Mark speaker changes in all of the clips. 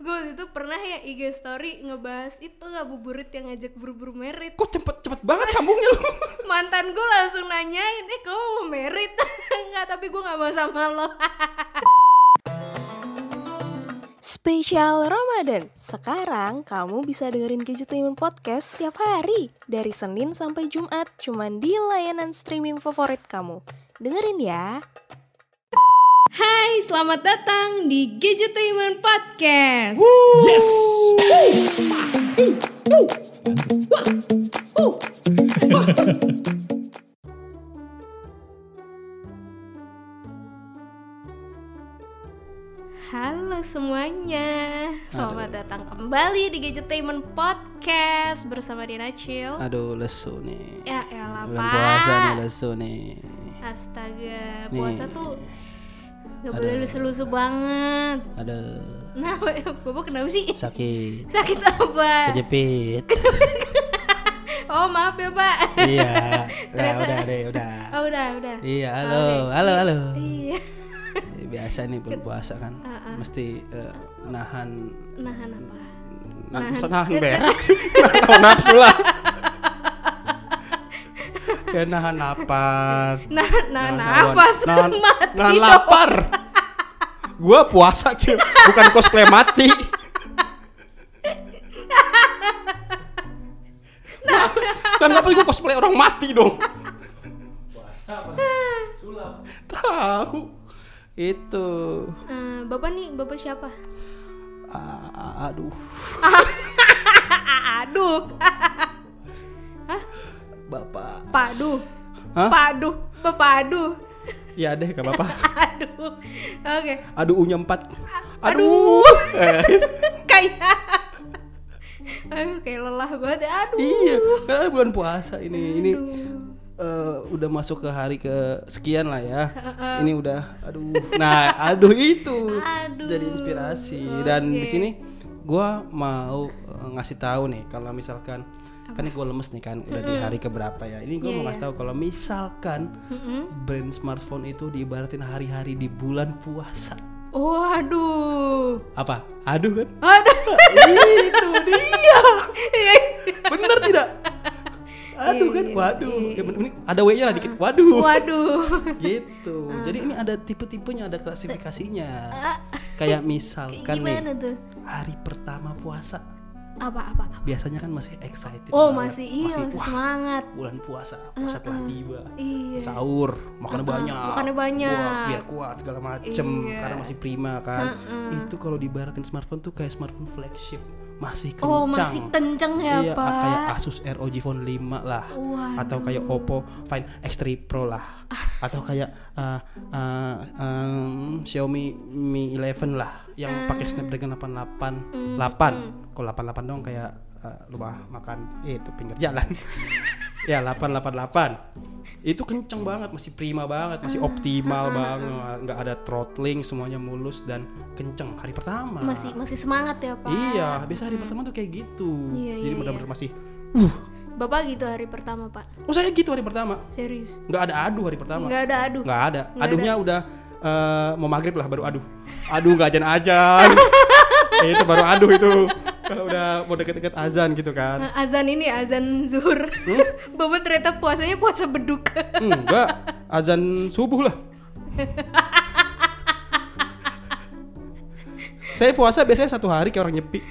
Speaker 1: waktu itu pernah ya IG story ngebahas itu ngabuburit yang ngajak buru-buru merit
Speaker 2: Kok cepet cepet banget sambungnya lu?
Speaker 1: mantan gue langsung nanyain eh kamu mau merit nggak tapi gue nggak mau sama lo
Speaker 3: Spesial Ramadan. Sekarang kamu bisa dengerin Gadgetainment Podcast setiap hari dari Senin sampai Jumat cuman di layanan streaming favorit kamu. Dengerin ya.
Speaker 1: Hai selamat datang di Gadgetainment Podcast
Speaker 2: Yes.
Speaker 1: Halo semuanya selamat datang kembali di Gadgetainment Podcast bersama Dina Chill
Speaker 2: Aduh lesu nih.
Speaker 1: ya elah
Speaker 2: Bulan puasa nih
Speaker 1: pak
Speaker 2: lesu nih.
Speaker 1: astaga puasa
Speaker 2: Nih.
Speaker 1: tuh nggak boleh lusu-lusu banget
Speaker 2: Ada
Speaker 1: nah bapak kenapa sih
Speaker 2: sakit,
Speaker 1: sakit apa
Speaker 2: kejepit.
Speaker 1: oh maaf ya pak
Speaker 2: iya. Udah udah deh udah.
Speaker 1: Oh udah udah.
Speaker 2: Iya halo halo halo.
Speaker 1: Iya.
Speaker 2: Biasa nih bulan puasa kan,
Speaker 1: Ah,
Speaker 2: mesti eh, nahan.
Speaker 1: Nahan apa?
Speaker 2: Nah, nahan, nahan berak sih, nahan nafsu lah. Ya nahan lapar.
Speaker 1: Nah, nah,
Speaker 2: Nahan
Speaker 1: nafas
Speaker 2: hawan. nahan,
Speaker 1: mati.
Speaker 2: nahan Nah, lapar gua puasa cil bukan cosplay mati dan kenapa gua cosplay orang mati dong puasa sulap tahu itu
Speaker 1: Eh, bapak nih, bapak siapa?
Speaker 2: A- a- aduh
Speaker 1: Ah, aduh.
Speaker 2: bapak
Speaker 1: Padu.
Speaker 2: Hah?
Speaker 1: Padu. Bepadu.
Speaker 2: ya deh gak apa-apa
Speaker 1: Aduh. Oke.
Speaker 2: aduh unya empat
Speaker 1: Aduh.
Speaker 2: aduh, Eh.
Speaker 1: kayak Aduh, kayak lelah banget. Aduh.
Speaker 2: iya karena bulan puasa ini ini eh, udah masuk ke hari ke sekian lah ya ini udah aduh nah aduh itu
Speaker 1: Aduh.
Speaker 2: jadi inspirasi dan di
Speaker 1: Oke.
Speaker 2: sini gua mau eh, ngasih tahu nih kalau misalkan kan gue lemes nih kan udah di hari keberapa ya ini gue
Speaker 1: Iya,
Speaker 2: mau ngasih tahu kalau misalkan brand smartphone itu diibaratin hari-hari di bulan puasa
Speaker 1: Waduh.
Speaker 2: apa aduh kan
Speaker 1: Oh, Aduh.
Speaker 2: itu dia bener tidak aduh kan waduh ya, bener- ini ada w nya lah dikit waduh
Speaker 1: Iya, Waduh. Ah.
Speaker 2: gitu jadi ini ada tipe-tipenya ada klasifikasinya kayak misalkan Kan nih
Speaker 1: Gimana tuh?
Speaker 2: hari pertama puasa
Speaker 1: Apa-apa?
Speaker 2: biasanya kan masih excited
Speaker 1: Oh,
Speaker 2: banget.
Speaker 1: masih iya, masih Ah,
Speaker 2: wah,
Speaker 1: semangat.
Speaker 2: bulan puasa puasa telah tiba
Speaker 1: Iya.
Speaker 2: sahur makannya banyak
Speaker 1: makannya banyak. Iya.
Speaker 2: Wah, biar kuat segala macem karena masih prima kan itu kalau dibaratin smartphone tuh kayak smartphone flagship masih kencang
Speaker 1: Oh, masih kenceng ya,
Speaker 2: iya,
Speaker 1: Pak.
Speaker 2: kayak Asus ROG Phone 5 lah atau kayak Oppo Find X3 Pro lah atau kayak uh, uh, um, Xiaomi Mi 11 lah
Speaker 1: Ah.
Speaker 2: yang pakai Snapdragon
Speaker 1: Mm,
Speaker 2: 888 8 kalau 88 dong kayak uh, rumah makan eh, itu pinggir jalan ya 888 itu kenceng banget masih prima banget masih
Speaker 1: Ah.
Speaker 2: optimal banget nggak ada throttling semuanya mulus dan kenceng hari pertama
Speaker 1: Masih masih semangat ya, Pak.
Speaker 2: Iya, biasa hari pertama tuh kayak gitu.
Speaker 1: Iya,
Speaker 2: Jadi
Speaker 1: iya,
Speaker 2: benar-benar masih uh.
Speaker 1: Bapak gitu hari pertama, Pak.
Speaker 2: Oh, saya gitu hari pertama.
Speaker 1: Serius.
Speaker 2: nggak ada aduh hari pertama.
Speaker 1: nggak ada aduh.
Speaker 2: Nggak ada. Aduhnya udah eh, mau maghrib lah baru aduh. Aduh nggak ajan ajan. itu baru aduh itu. Kalau udah mau deket-deket azan gitu kan.
Speaker 1: Nah, azan ini azan zuhur. Bapak ternyata puasanya puasa beduk.
Speaker 2: Enggak, azan subuh lah. saya puasa biasanya satu hari kayak orang nyepi.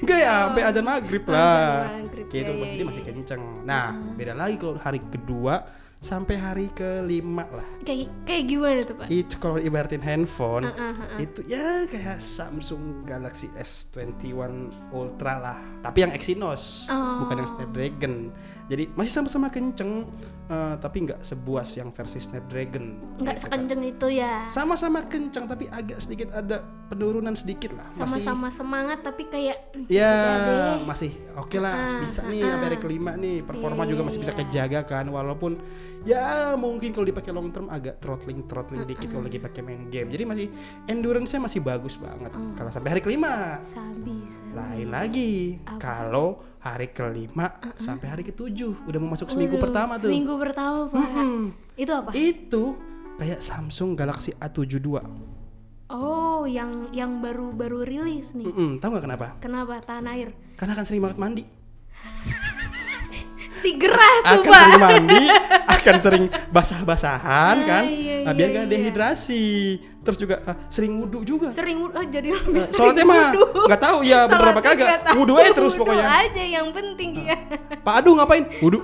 Speaker 2: Enggak ya, sampai azan maghrib lah.
Speaker 1: maghrib,
Speaker 2: Gitu,
Speaker 1: ya, ya,
Speaker 2: jadi masih kenceng. Nah, beda lagi kalau hari kedua sampai hari kelima lah.
Speaker 1: kayak kayak gimana tuh, Pak?
Speaker 2: Itu kalau ibaratin handphone, itu ya kayak Samsung Galaxy S21 Ultra lah. Tapi yang Exynos,
Speaker 1: Oh.
Speaker 2: bukan yang Snapdragon. Jadi masih sama-sama kenceng, eh, tapi nggak sebuas yang versi Snapdragon.
Speaker 1: Nggak sekenceng itu ya.
Speaker 2: Sama-sama kenceng, tapi agak sedikit ada penurunan sedikit lah. Masih-
Speaker 1: Sama-sama semangat tapi kayak "Hmm,
Speaker 2: Ya masih oke lah bisa nih sampai hari kelima nih performa juga masih bisa kejaga kan walaupun ya mungkin kalau dipakai long term agak throttling throttling dikit kalau lagi pakai main game jadi masih endurance nya masih bagus banget kalau sampai hari kelima
Speaker 1: sabi. sabi."
Speaker 2: lain lagi kalau hari kelima sampai hari ketujuh udah mau masuk seminggu
Speaker 1: Waduh,
Speaker 2: pertama tuh Iya.
Speaker 1: Seminggu pertama, Pak. Itu apa?
Speaker 2: itu kayak Samsung Galaxy A72.
Speaker 1: Oh, yang yang baru-baru rilis nih.
Speaker 2: Mm-mm, tahu nggak kenapa?
Speaker 1: Kenapa tahan air?
Speaker 2: Karena akan sering banget mandi.
Speaker 1: Si gerah tuh,
Speaker 2: akan
Speaker 1: Pak.
Speaker 2: sering mandi, akan sering basah-basahan
Speaker 1: Ah,
Speaker 2: kan?
Speaker 1: iya,
Speaker 2: Nah, biar
Speaker 1: iya,
Speaker 2: nggak
Speaker 1: iya.
Speaker 2: dehidrasi. Terus juga ah, sering wudhu juga.
Speaker 1: Sering wud- oh, jadi lebih sering
Speaker 2: Sholatnya Eh, mah
Speaker 1: wudhu.
Speaker 2: nggak tahu ya beberapa
Speaker 1: Sholatnya nggak
Speaker 2: kagak.
Speaker 1: tahu,
Speaker 2: Wudhu aja terus
Speaker 1: wudhu
Speaker 2: pokoknya.
Speaker 1: aja yang penting ya.
Speaker 2: Pak Adu ngapain? Wudhu.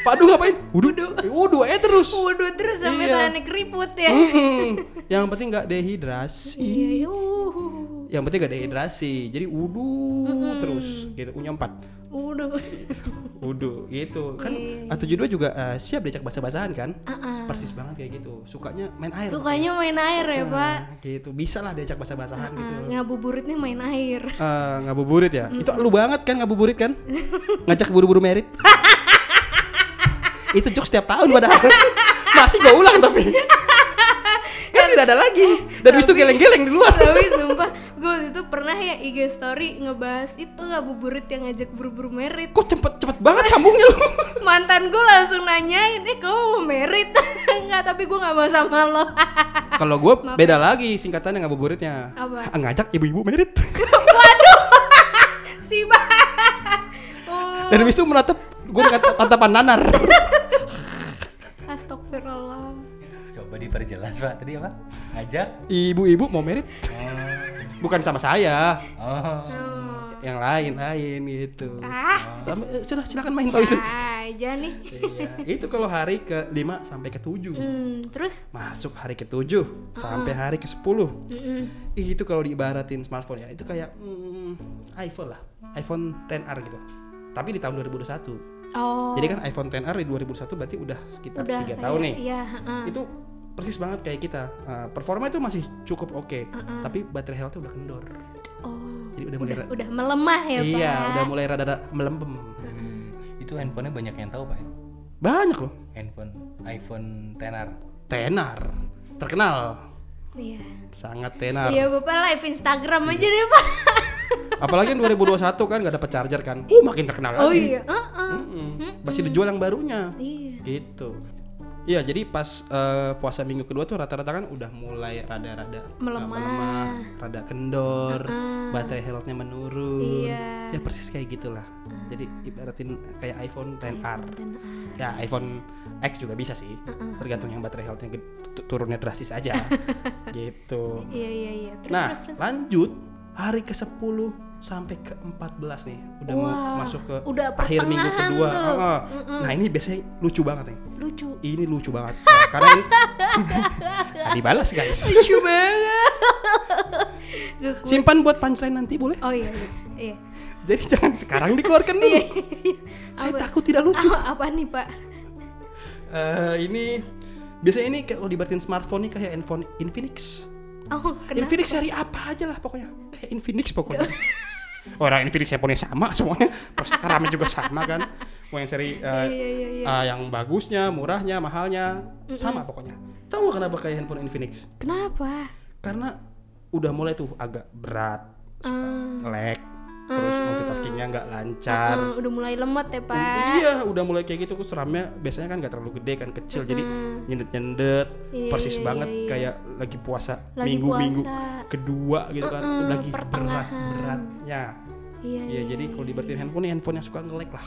Speaker 2: Pak Adu ngapain? Wudhu. Eh, Wudhu aja terus.
Speaker 1: Wudhu terus sampai
Speaker 2: Iya. Hmm.
Speaker 1: tangannya keriput ya.
Speaker 2: Mm-mm. Yang penting nggak dehidrasi.
Speaker 1: Iya, iya, wuhu.
Speaker 2: Yang penting gak dehidrasi. Jadi wudhu terus gitu. Punya empat.
Speaker 1: Wudhu.
Speaker 2: Wudhu gitu kan
Speaker 1: Iya,
Speaker 2: A72 juga eh, siap diajak basa-basahan kan
Speaker 1: Ah, ah.
Speaker 2: persis banget kayak gitu sukanya main air
Speaker 1: Sukanya main air ya, Pak.
Speaker 2: Nah, gitu bisa lah diajak basa-basahan gitu
Speaker 1: Ah, ngabuburitnya main air.
Speaker 2: Eh, ngabuburit ya itu lu banget kan ngabuburit kan ngajak buru-buru merit itu jokes setiap tahun padahal masih gue ulang tapi kan tidak ada lagi
Speaker 1: Oh,
Speaker 2: dan habis itu geleng-geleng di luar
Speaker 1: Tapi sumpah, gue itu pernah ya IG story ngebahas itu ngabuburit yang ngajak buru-buru merit.
Speaker 2: kok cepet-cepet banget sambungnya lu
Speaker 1: Mantan gue langsung nanyain, eh kamu mau merit? Enggak, tapi gue nggak mau sama lo.
Speaker 2: kalau gue beda lagi singkatannya ngabuburitnya
Speaker 1: ya. Apa?
Speaker 2: Ah, ngajak ibu-ibu merit
Speaker 1: si Ba- oh,
Speaker 2: dan habis itu menatap gue dengan tatapan nanar
Speaker 1: astagfirullah.
Speaker 4: Coba diperjelas pak. Tadi apa? Ngajak?
Speaker 2: ibu-ibu mau merit bukan sama saya
Speaker 1: Oh.
Speaker 4: Oh.
Speaker 2: yang lain lain gitu
Speaker 1: Ah,
Speaker 2: Sama- eh, sudah silakan main soal itu
Speaker 1: aja nih.
Speaker 2: iya itu kalau hari ke 5 sampai ke 7
Speaker 1: Hmm, terus
Speaker 2: masuk hari ke 7 sampai
Speaker 1: Ah.
Speaker 2: hari ke 10
Speaker 1: Mm-mm.
Speaker 2: itu kalau diibaratin smartphone ya itu kayak mm, iPhone lah iPhone 10R gitu tapi di tahun 2021
Speaker 1: Oh.
Speaker 2: jadi kan iPhone 10R di 2021 berarti udah sekitar
Speaker 1: udah
Speaker 2: tiga
Speaker 1: kayak-
Speaker 2: tahun nih
Speaker 1: Iya, heeh.
Speaker 2: itu persis banget kayak kita Uh, performa itu masih cukup oke
Speaker 1: Ah,
Speaker 2: tapi baterai healthnya udah kendor
Speaker 1: Oh.
Speaker 2: jadi udah mulai ra-
Speaker 1: Udah melemah ya, Pak.
Speaker 2: iya udah mulai rada-rada melempem
Speaker 4: Hmm, Itu handphonenya banyak yang tahu pak. ya?
Speaker 2: banyak loh
Speaker 4: Handphone iPhone tenar.
Speaker 2: tenar terkenal
Speaker 1: Iya.
Speaker 2: sangat tenar
Speaker 1: Iya, Bapak live Instagram
Speaker 2: Iya.
Speaker 1: aja deh, Pak.
Speaker 2: apalagi yang 2021 kan gak dapat charger kan uh makin terkenal
Speaker 1: Oh
Speaker 2: lagi
Speaker 1: iya, heeh.
Speaker 2: Mm-mm. masih dijual yang barunya
Speaker 1: Iya.
Speaker 2: gitu Iya jadi pas eh, puasa minggu kedua tuh rata-rata kan udah mulai rada-rada eh,
Speaker 1: Melemah.
Speaker 2: rada kendor, baterai healthnya menurun.
Speaker 1: Iya.
Speaker 2: Ya persis kayak gitulah. Jadi ibaratin kayak iPhone 10R.
Speaker 1: Dan- ah,
Speaker 2: Ya iPhone X juga bisa sih, tergantung yang baterai healthnya ged- tu- turunnya drastis aja. gitu.
Speaker 1: Iya, iya, iya. Terus
Speaker 2: nah
Speaker 1: terus terus.
Speaker 2: lanjut hari ke 10 sampai ke 14 nih udah mau
Speaker 1: Wah,
Speaker 2: masuk ke
Speaker 1: udah
Speaker 2: akhir minggu
Speaker 1: pertengahan
Speaker 2: kedua.
Speaker 1: tuh.
Speaker 2: Heeh. Nah ini biasanya lucu banget nih
Speaker 1: Lucu.
Speaker 2: ini lucu banget Nah, karena ini Nah, dibalas guys
Speaker 1: Lucu banget. Gak kuat.
Speaker 2: simpan buat punchline nanti boleh
Speaker 1: Oh iya, iya, iya.
Speaker 2: jadi jangan sekarang dikeluarkan dulu saya takut tidak lucu
Speaker 1: Apa, Oh, apa nih, Pak?
Speaker 2: Eh, ini biasanya ini kalau dibaratin smartphone nih kayak handphone Infinix
Speaker 1: Oh, kenapa?
Speaker 2: Infinix seri apa aja lah pokoknya kayak Infinix pokoknya orang Infinix handphonenya sama semuanya terus RAM-nya juga sama kan mau yang seri
Speaker 1: iya,
Speaker 2: eh,
Speaker 1: iya, iya.
Speaker 2: eh, yang bagusnya murahnya mahalnya sama pokoknya tahu nggak kenapa kayak handphone Infinix
Speaker 1: Kenapa?
Speaker 2: karena udah mulai tuh agak berat
Speaker 1: Ah.
Speaker 2: lag terus multitaskingnya nggak lancar
Speaker 1: Eh, udah mulai lemot ya, Pak.
Speaker 2: iya udah mulai kayak gitu terus RAM-nya biasanya kan nggak terlalu gede kan kecil jadi nyendet nyendet
Speaker 1: Iya,
Speaker 2: persis
Speaker 1: iya,
Speaker 2: banget
Speaker 1: iya, iya.
Speaker 2: kayak lagi puasa
Speaker 1: Lagi
Speaker 2: minggu minggu
Speaker 1: puasa.
Speaker 2: kedua gitu kan
Speaker 1: Mm-mm,
Speaker 2: lagi berat
Speaker 1: pertengahan.
Speaker 2: beratnya
Speaker 1: Iya,
Speaker 2: Iya, jadi kalau diberatin handphone nih handphone yang suka nge-lag lah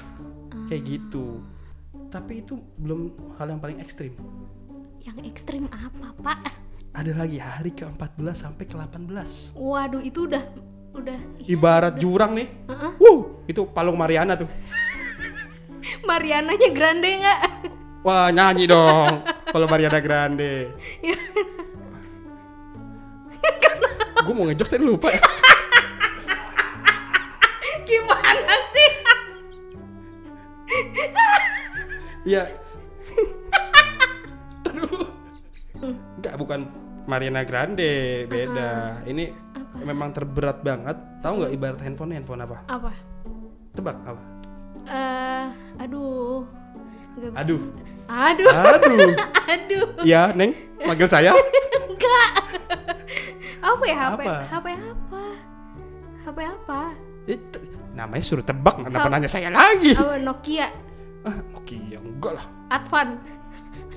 Speaker 1: Ah.
Speaker 2: kayak gitu tapi itu belum hal yang paling ekstrim
Speaker 1: Yang ekstrim apa, Pak?
Speaker 2: ada lagi hari ke-14 sampai ke-18
Speaker 1: Waduh, itu udah udah ih,
Speaker 2: ibarat jurang nih. Wuh, itu palung Mariana tuh.
Speaker 1: Mariananya grande nggak?
Speaker 2: Wah, nyanyi dong. Kalau Mariana Grande. Gue mau ngejok tadi lupa.
Speaker 1: Gimana sih?
Speaker 2: Iya. Enggak, bukan Mariana Grande, beda. Ini memang terberat banget. Tahu nggak ibarat handphone handphone apa?
Speaker 1: Apa?
Speaker 2: Tebak apa?
Speaker 1: Eh, aduh. Nggak bisa.
Speaker 2: Aduh.
Speaker 1: Aduh.
Speaker 2: Aduh.
Speaker 1: Aduh.
Speaker 2: Iya, Neng, manggil saya.
Speaker 1: Enggak. apa ya HP?
Speaker 2: Apa?
Speaker 1: HP apa? HP apa?
Speaker 2: Itu- namanya suruh tebak, kenapa nanya saya lagi?
Speaker 1: Apa Nokia
Speaker 2: Ah, Nokia enggak lah.
Speaker 1: Advan.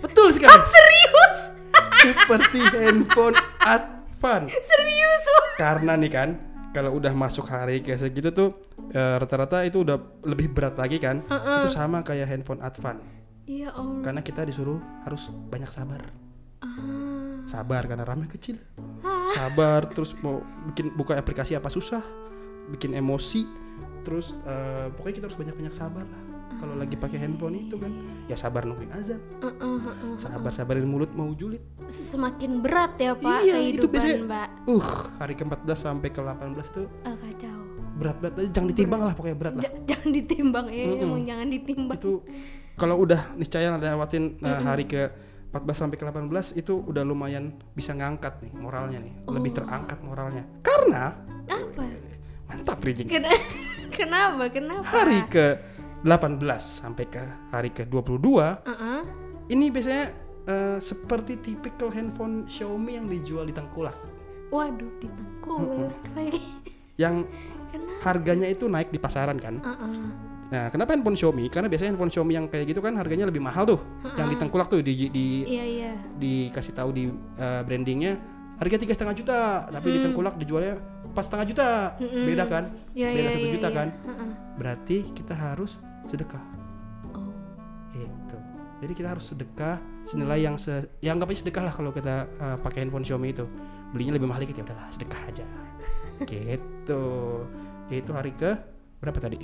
Speaker 2: Betul sekali.
Speaker 1: Serius?
Speaker 2: seperti handphone advance
Speaker 1: Serius loh.
Speaker 2: karena nih kan kalau udah masuk hari kayak segitu tuh eh, rata-rata itu udah lebih berat lagi kan itu sama kayak handphone advance
Speaker 1: Iya Allah.
Speaker 2: karena kita disuruh harus banyak sabar sabar karena ramai kecil sabar terus mau bikin buka aplikasi apa susah bikin emosi terus eh, pokoknya kita harus banyak-banyak sabar lah kalau lagi pakai handphone itu kan ya sabar nungguin azan sabar sabarin mulut mau julid
Speaker 1: Semakin berat ya Pak
Speaker 2: Iya,
Speaker 1: kehidupan
Speaker 2: itu biasanya-
Speaker 1: Mbak.
Speaker 2: uh hari ke-14 sampai ke-18 tuh
Speaker 1: Eh, kacau.
Speaker 2: berat-berat aja jangan ditimbang lah pokoknya berat lah
Speaker 1: Ja- jangan ditimbang ya, emang jangan ditimbang.
Speaker 2: itu kalau udah niscaya lewatin uh, hari ke 14 sampai ke 18 itu udah lumayan bisa ngangkat nih moralnya nih lebih terangkat moralnya karena
Speaker 1: Apa?
Speaker 2: mantap Rijing
Speaker 1: Ken- kenapa? Kenapa?
Speaker 2: hari ke 18 sampai ke hari ke 22
Speaker 1: Heeh.
Speaker 2: ini biasanya uh, seperti tipikal handphone Xiaomi yang dijual di tengkulak
Speaker 1: Waduh, ditengkulak lagi.
Speaker 2: yang
Speaker 1: Kenapa?
Speaker 2: harganya itu naik di pasaran kan
Speaker 1: Heeh.
Speaker 2: Nah, kenapa handphone Xiaomi? Karena biasanya handphone Xiaomi yang kayak gitu kan harganya lebih mahal tuh. Yang di tengkulak tuh di di
Speaker 1: Iya, iya.
Speaker 2: dikasih tahu di eh, brandingnya harga tiga setengah juta, tapi di tengkulak dijualnya pas setengah juta. Beda kan?
Speaker 1: Iya,
Speaker 2: Beda
Speaker 1: iya,
Speaker 2: satu
Speaker 1: iya,
Speaker 2: juta
Speaker 1: iya.
Speaker 2: kan?
Speaker 1: Heeh.
Speaker 2: Berarti kita harus sedekah.
Speaker 1: Oh.
Speaker 2: Itu. Jadi kita harus sedekah senilai yang se yang anggap aja sedekah lah kalau kita eh, pakai handphone Xiaomi itu. Belinya lebih mahal dikit ya udahlah, sedekah aja. gitu. Itu hari ke berapa tadi?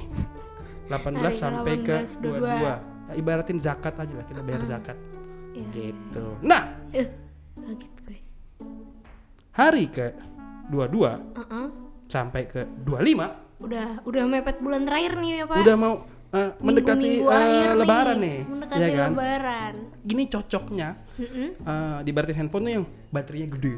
Speaker 2: 18
Speaker 1: Hari ke
Speaker 2: sampai ke
Speaker 1: 18, 22.
Speaker 2: 22. Ya, Ibaratin zakat aja lah kita bayar zakat.
Speaker 1: Iya.
Speaker 2: Gitu. Nah,
Speaker 1: Eh, kaget gue.
Speaker 2: hari ke 22
Speaker 1: Heeh.
Speaker 2: sampai ke 25
Speaker 1: Udah, udah mepet bulan terakhir nih ya, Pak.
Speaker 2: udah mau eh, mendekati
Speaker 1: Minggu-minggu
Speaker 2: eh,
Speaker 1: akhir
Speaker 2: lebaran nih,
Speaker 1: Mendekati
Speaker 2: ya kan?
Speaker 1: lebaran.
Speaker 2: Gini cocoknya
Speaker 1: Mm-mm.
Speaker 2: eh, di baratin handphone tuh yang baterainya gede.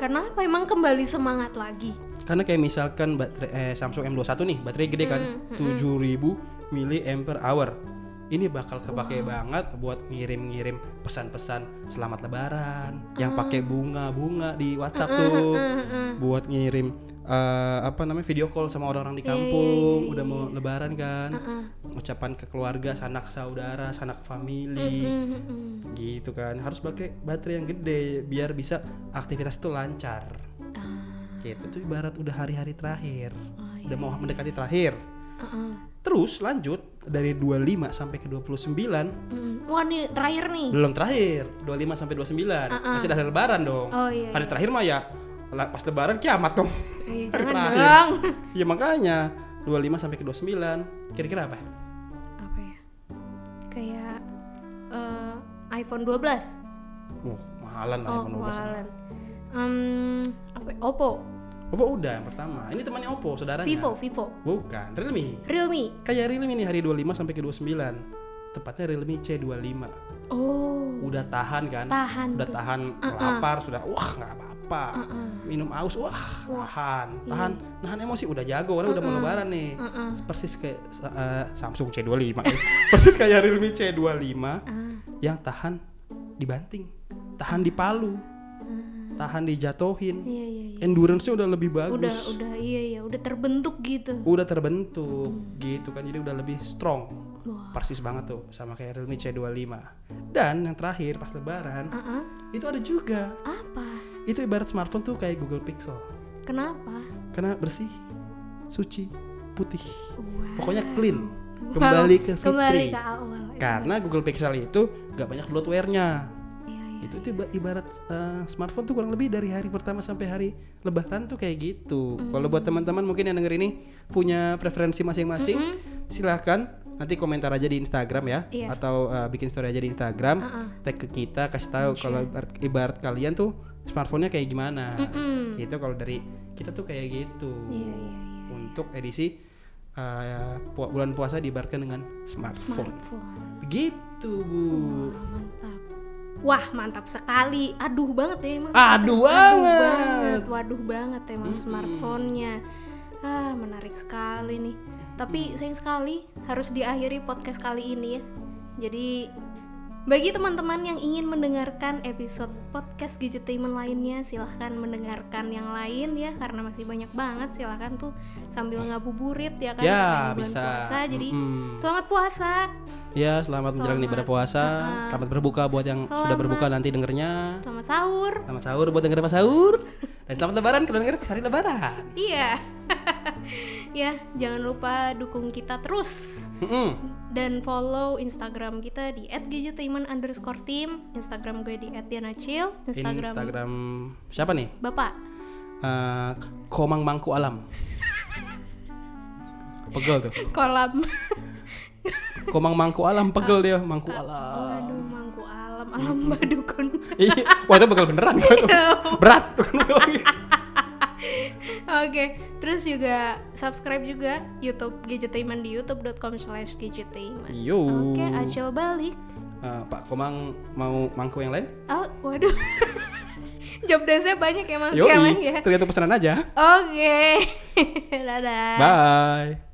Speaker 1: Karena apa? Emang kembali semangat lagi.
Speaker 2: karena kayak misalkan baterai eh, Samsung M21 nih baterai gede kan 7000 miliampere hour ini bakal kepake banget buat ngirim-ngirim pesan-pesan selamat lebaran yang pakai bunga-bunga di WhatsApp tuh
Speaker 1: hmm,
Speaker 2: buat ngirim eh, apa namanya video call sama orang-orang di kampung udah mau lebaran kan ucapan ke keluarga sanak saudara sanak family
Speaker 1: Hmm,
Speaker 2: gitu kan harus pakai baterai yang gede biar bisa aktivitas itu lancar
Speaker 1: Ah,
Speaker 2: gitu itu ibarat udah hari-hari terakhir
Speaker 1: Oh, iya,
Speaker 2: udah mau mendekati terakhir terus lanjut dari 25 sampai ke 29
Speaker 1: Mm. Wah nih terakhir nih.
Speaker 2: belum terakhir 25 sampai 29 masih ada hari lebaran dong
Speaker 1: Oh, iya,
Speaker 2: hari terakhir mah ya la- pas lebaran kiamat dong
Speaker 1: Eh,
Speaker 2: hari
Speaker 1: jangan
Speaker 2: terakhir.
Speaker 1: dong.
Speaker 2: ya makanya 25 sampai ke 29 kira-kira apa
Speaker 1: Apa ya? Kayak eh, iPhone 12.
Speaker 2: Wah, mahalan lah
Speaker 1: Oh,
Speaker 2: iPhone 12.
Speaker 1: kemahalan. Em, apa? ya? Oppo,
Speaker 2: Oppo udah yang pertama ini temannya Oppo saudaranya
Speaker 1: Vivo, Vivo,
Speaker 2: bukan Realme
Speaker 1: Realme.
Speaker 2: kayak Realme nih hari 25 sampai ke 29 tepatnya Realme C25
Speaker 1: Oh,
Speaker 2: udah tahan kan
Speaker 1: Tahan
Speaker 2: udah
Speaker 1: tuh.
Speaker 2: tahan lapar sudah wah nggak apa-apa minum aus wah tahan
Speaker 1: iya.
Speaker 2: tahan nahan emosi udah jago karena udah mau lebaran nih persis kayak eh, Samsung C25 eh. persis kayak Realme C25
Speaker 1: Ah.
Speaker 2: yang tahan dibanting tahan dipalu tahan dijatuhin
Speaker 1: Ah. iya iya. iya.
Speaker 2: endurance-nya udah lebih bagus
Speaker 1: Udah, udah, iya iya, udah terbentuk gitu.
Speaker 2: udah terbentuk gitu kan jadi udah lebih strong
Speaker 1: Wah.
Speaker 2: persis banget tuh sama kayak Realme C25 dan yang terakhir pas lebaran
Speaker 1: Ah.
Speaker 2: itu ada juga
Speaker 1: Apa?
Speaker 2: itu ibarat smartphone tuh kayak Google Pixel
Speaker 1: Kenapa?
Speaker 2: karena bersih suci putih
Speaker 1: Wah.
Speaker 2: pokoknya clean kembali ke Kan? fitri
Speaker 1: Kembali ke awal.
Speaker 2: karena Google Pixel itu gak banyak bloatware-nya
Speaker 1: Iya iya.
Speaker 2: itu tuh iba- ibarat eh, smartphone tuh kurang lebih dari hari pertama sampai hari lebaran tuh kayak gitu. Kalau buat teman-teman mungkin yang denger ini punya preferensi masing-masing, silahkan nanti komentar aja di Instagram ya,
Speaker 1: Iya.
Speaker 2: atau eh, bikin story aja di Instagram, tag ke kita kasih tahu kalau ibarat, ibarat kalian tuh smartphone-nya kayak gimana. Itu kalau dari kita tuh kayak gitu.
Speaker 1: Iya iya iya.
Speaker 2: Untuk edisi eh, pu- bulan puasa diibaratkan dengan smartphone.
Speaker 1: Smartphone.
Speaker 2: Begitu bu.
Speaker 1: Wah, mantap. Wah, mantap sekali. Aduh banget ya emang. Aduh
Speaker 2: Aduh banget.
Speaker 1: banget, waduh banget emang smartphone-nya. Ah, menarik sekali nih. Tapi sayang sekali harus diakhiri podcast kali ini ya. Jadi bagi teman-teman yang ingin mendengarkan episode podcast Gadgetainment lainnya, silahkan mendengarkan yang lain ya karena masih banyak banget. Silahkan tuh sambil ngabuburit ya kan
Speaker 2: Ya,
Speaker 1: katanya bulan
Speaker 2: bisa.
Speaker 1: puasa. Jadi
Speaker 2: Mm-mm.
Speaker 1: selamat puasa
Speaker 2: Ya, selamat menjelang ibadah puasa. Selamat berbuka buat yang sudah berbuka nanti dengernya.
Speaker 1: Selamat sahur.
Speaker 2: Selamat sahur buat yang pas sahur. Dan selamat lebaran kalau denger hari lebaran.
Speaker 1: Iya. ya, jangan lupa dukung kita terus
Speaker 2: Mm-mm.
Speaker 1: dan follow Instagram kita di @gadgetainment underscore team. Instagram gue di @dianacil.
Speaker 2: Ini
Speaker 1: Instagram,
Speaker 2: Instagram siapa nih?
Speaker 1: bapak.
Speaker 2: Eh, Komang Mangku Alam. pegel tuh.
Speaker 1: Kolam.
Speaker 2: Komang Mangku Alam pegel dia,
Speaker 1: Ah.
Speaker 2: Mangku Alam.
Speaker 1: Waduh, mangku alam alam badukun.
Speaker 2: Iya, wah itu pegel beneran.
Speaker 1: Iya.
Speaker 2: Berat tuh kan lagi.
Speaker 1: Oke, terus juga subscribe juga YouTube Gadgetainment di youtube.com/gadgetainment.
Speaker 2: Yo.
Speaker 1: Oke, acil balik.
Speaker 2: Eh, Pak Komang mau mangku yang lain?
Speaker 1: Oh, waduh. Job desk-nya banyak ya, Mang.
Speaker 2: Yo,
Speaker 1: Sekarang ya.
Speaker 2: tergantung pesanan aja.
Speaker 1: Oke. Dadah.
Speaker 2: Bye.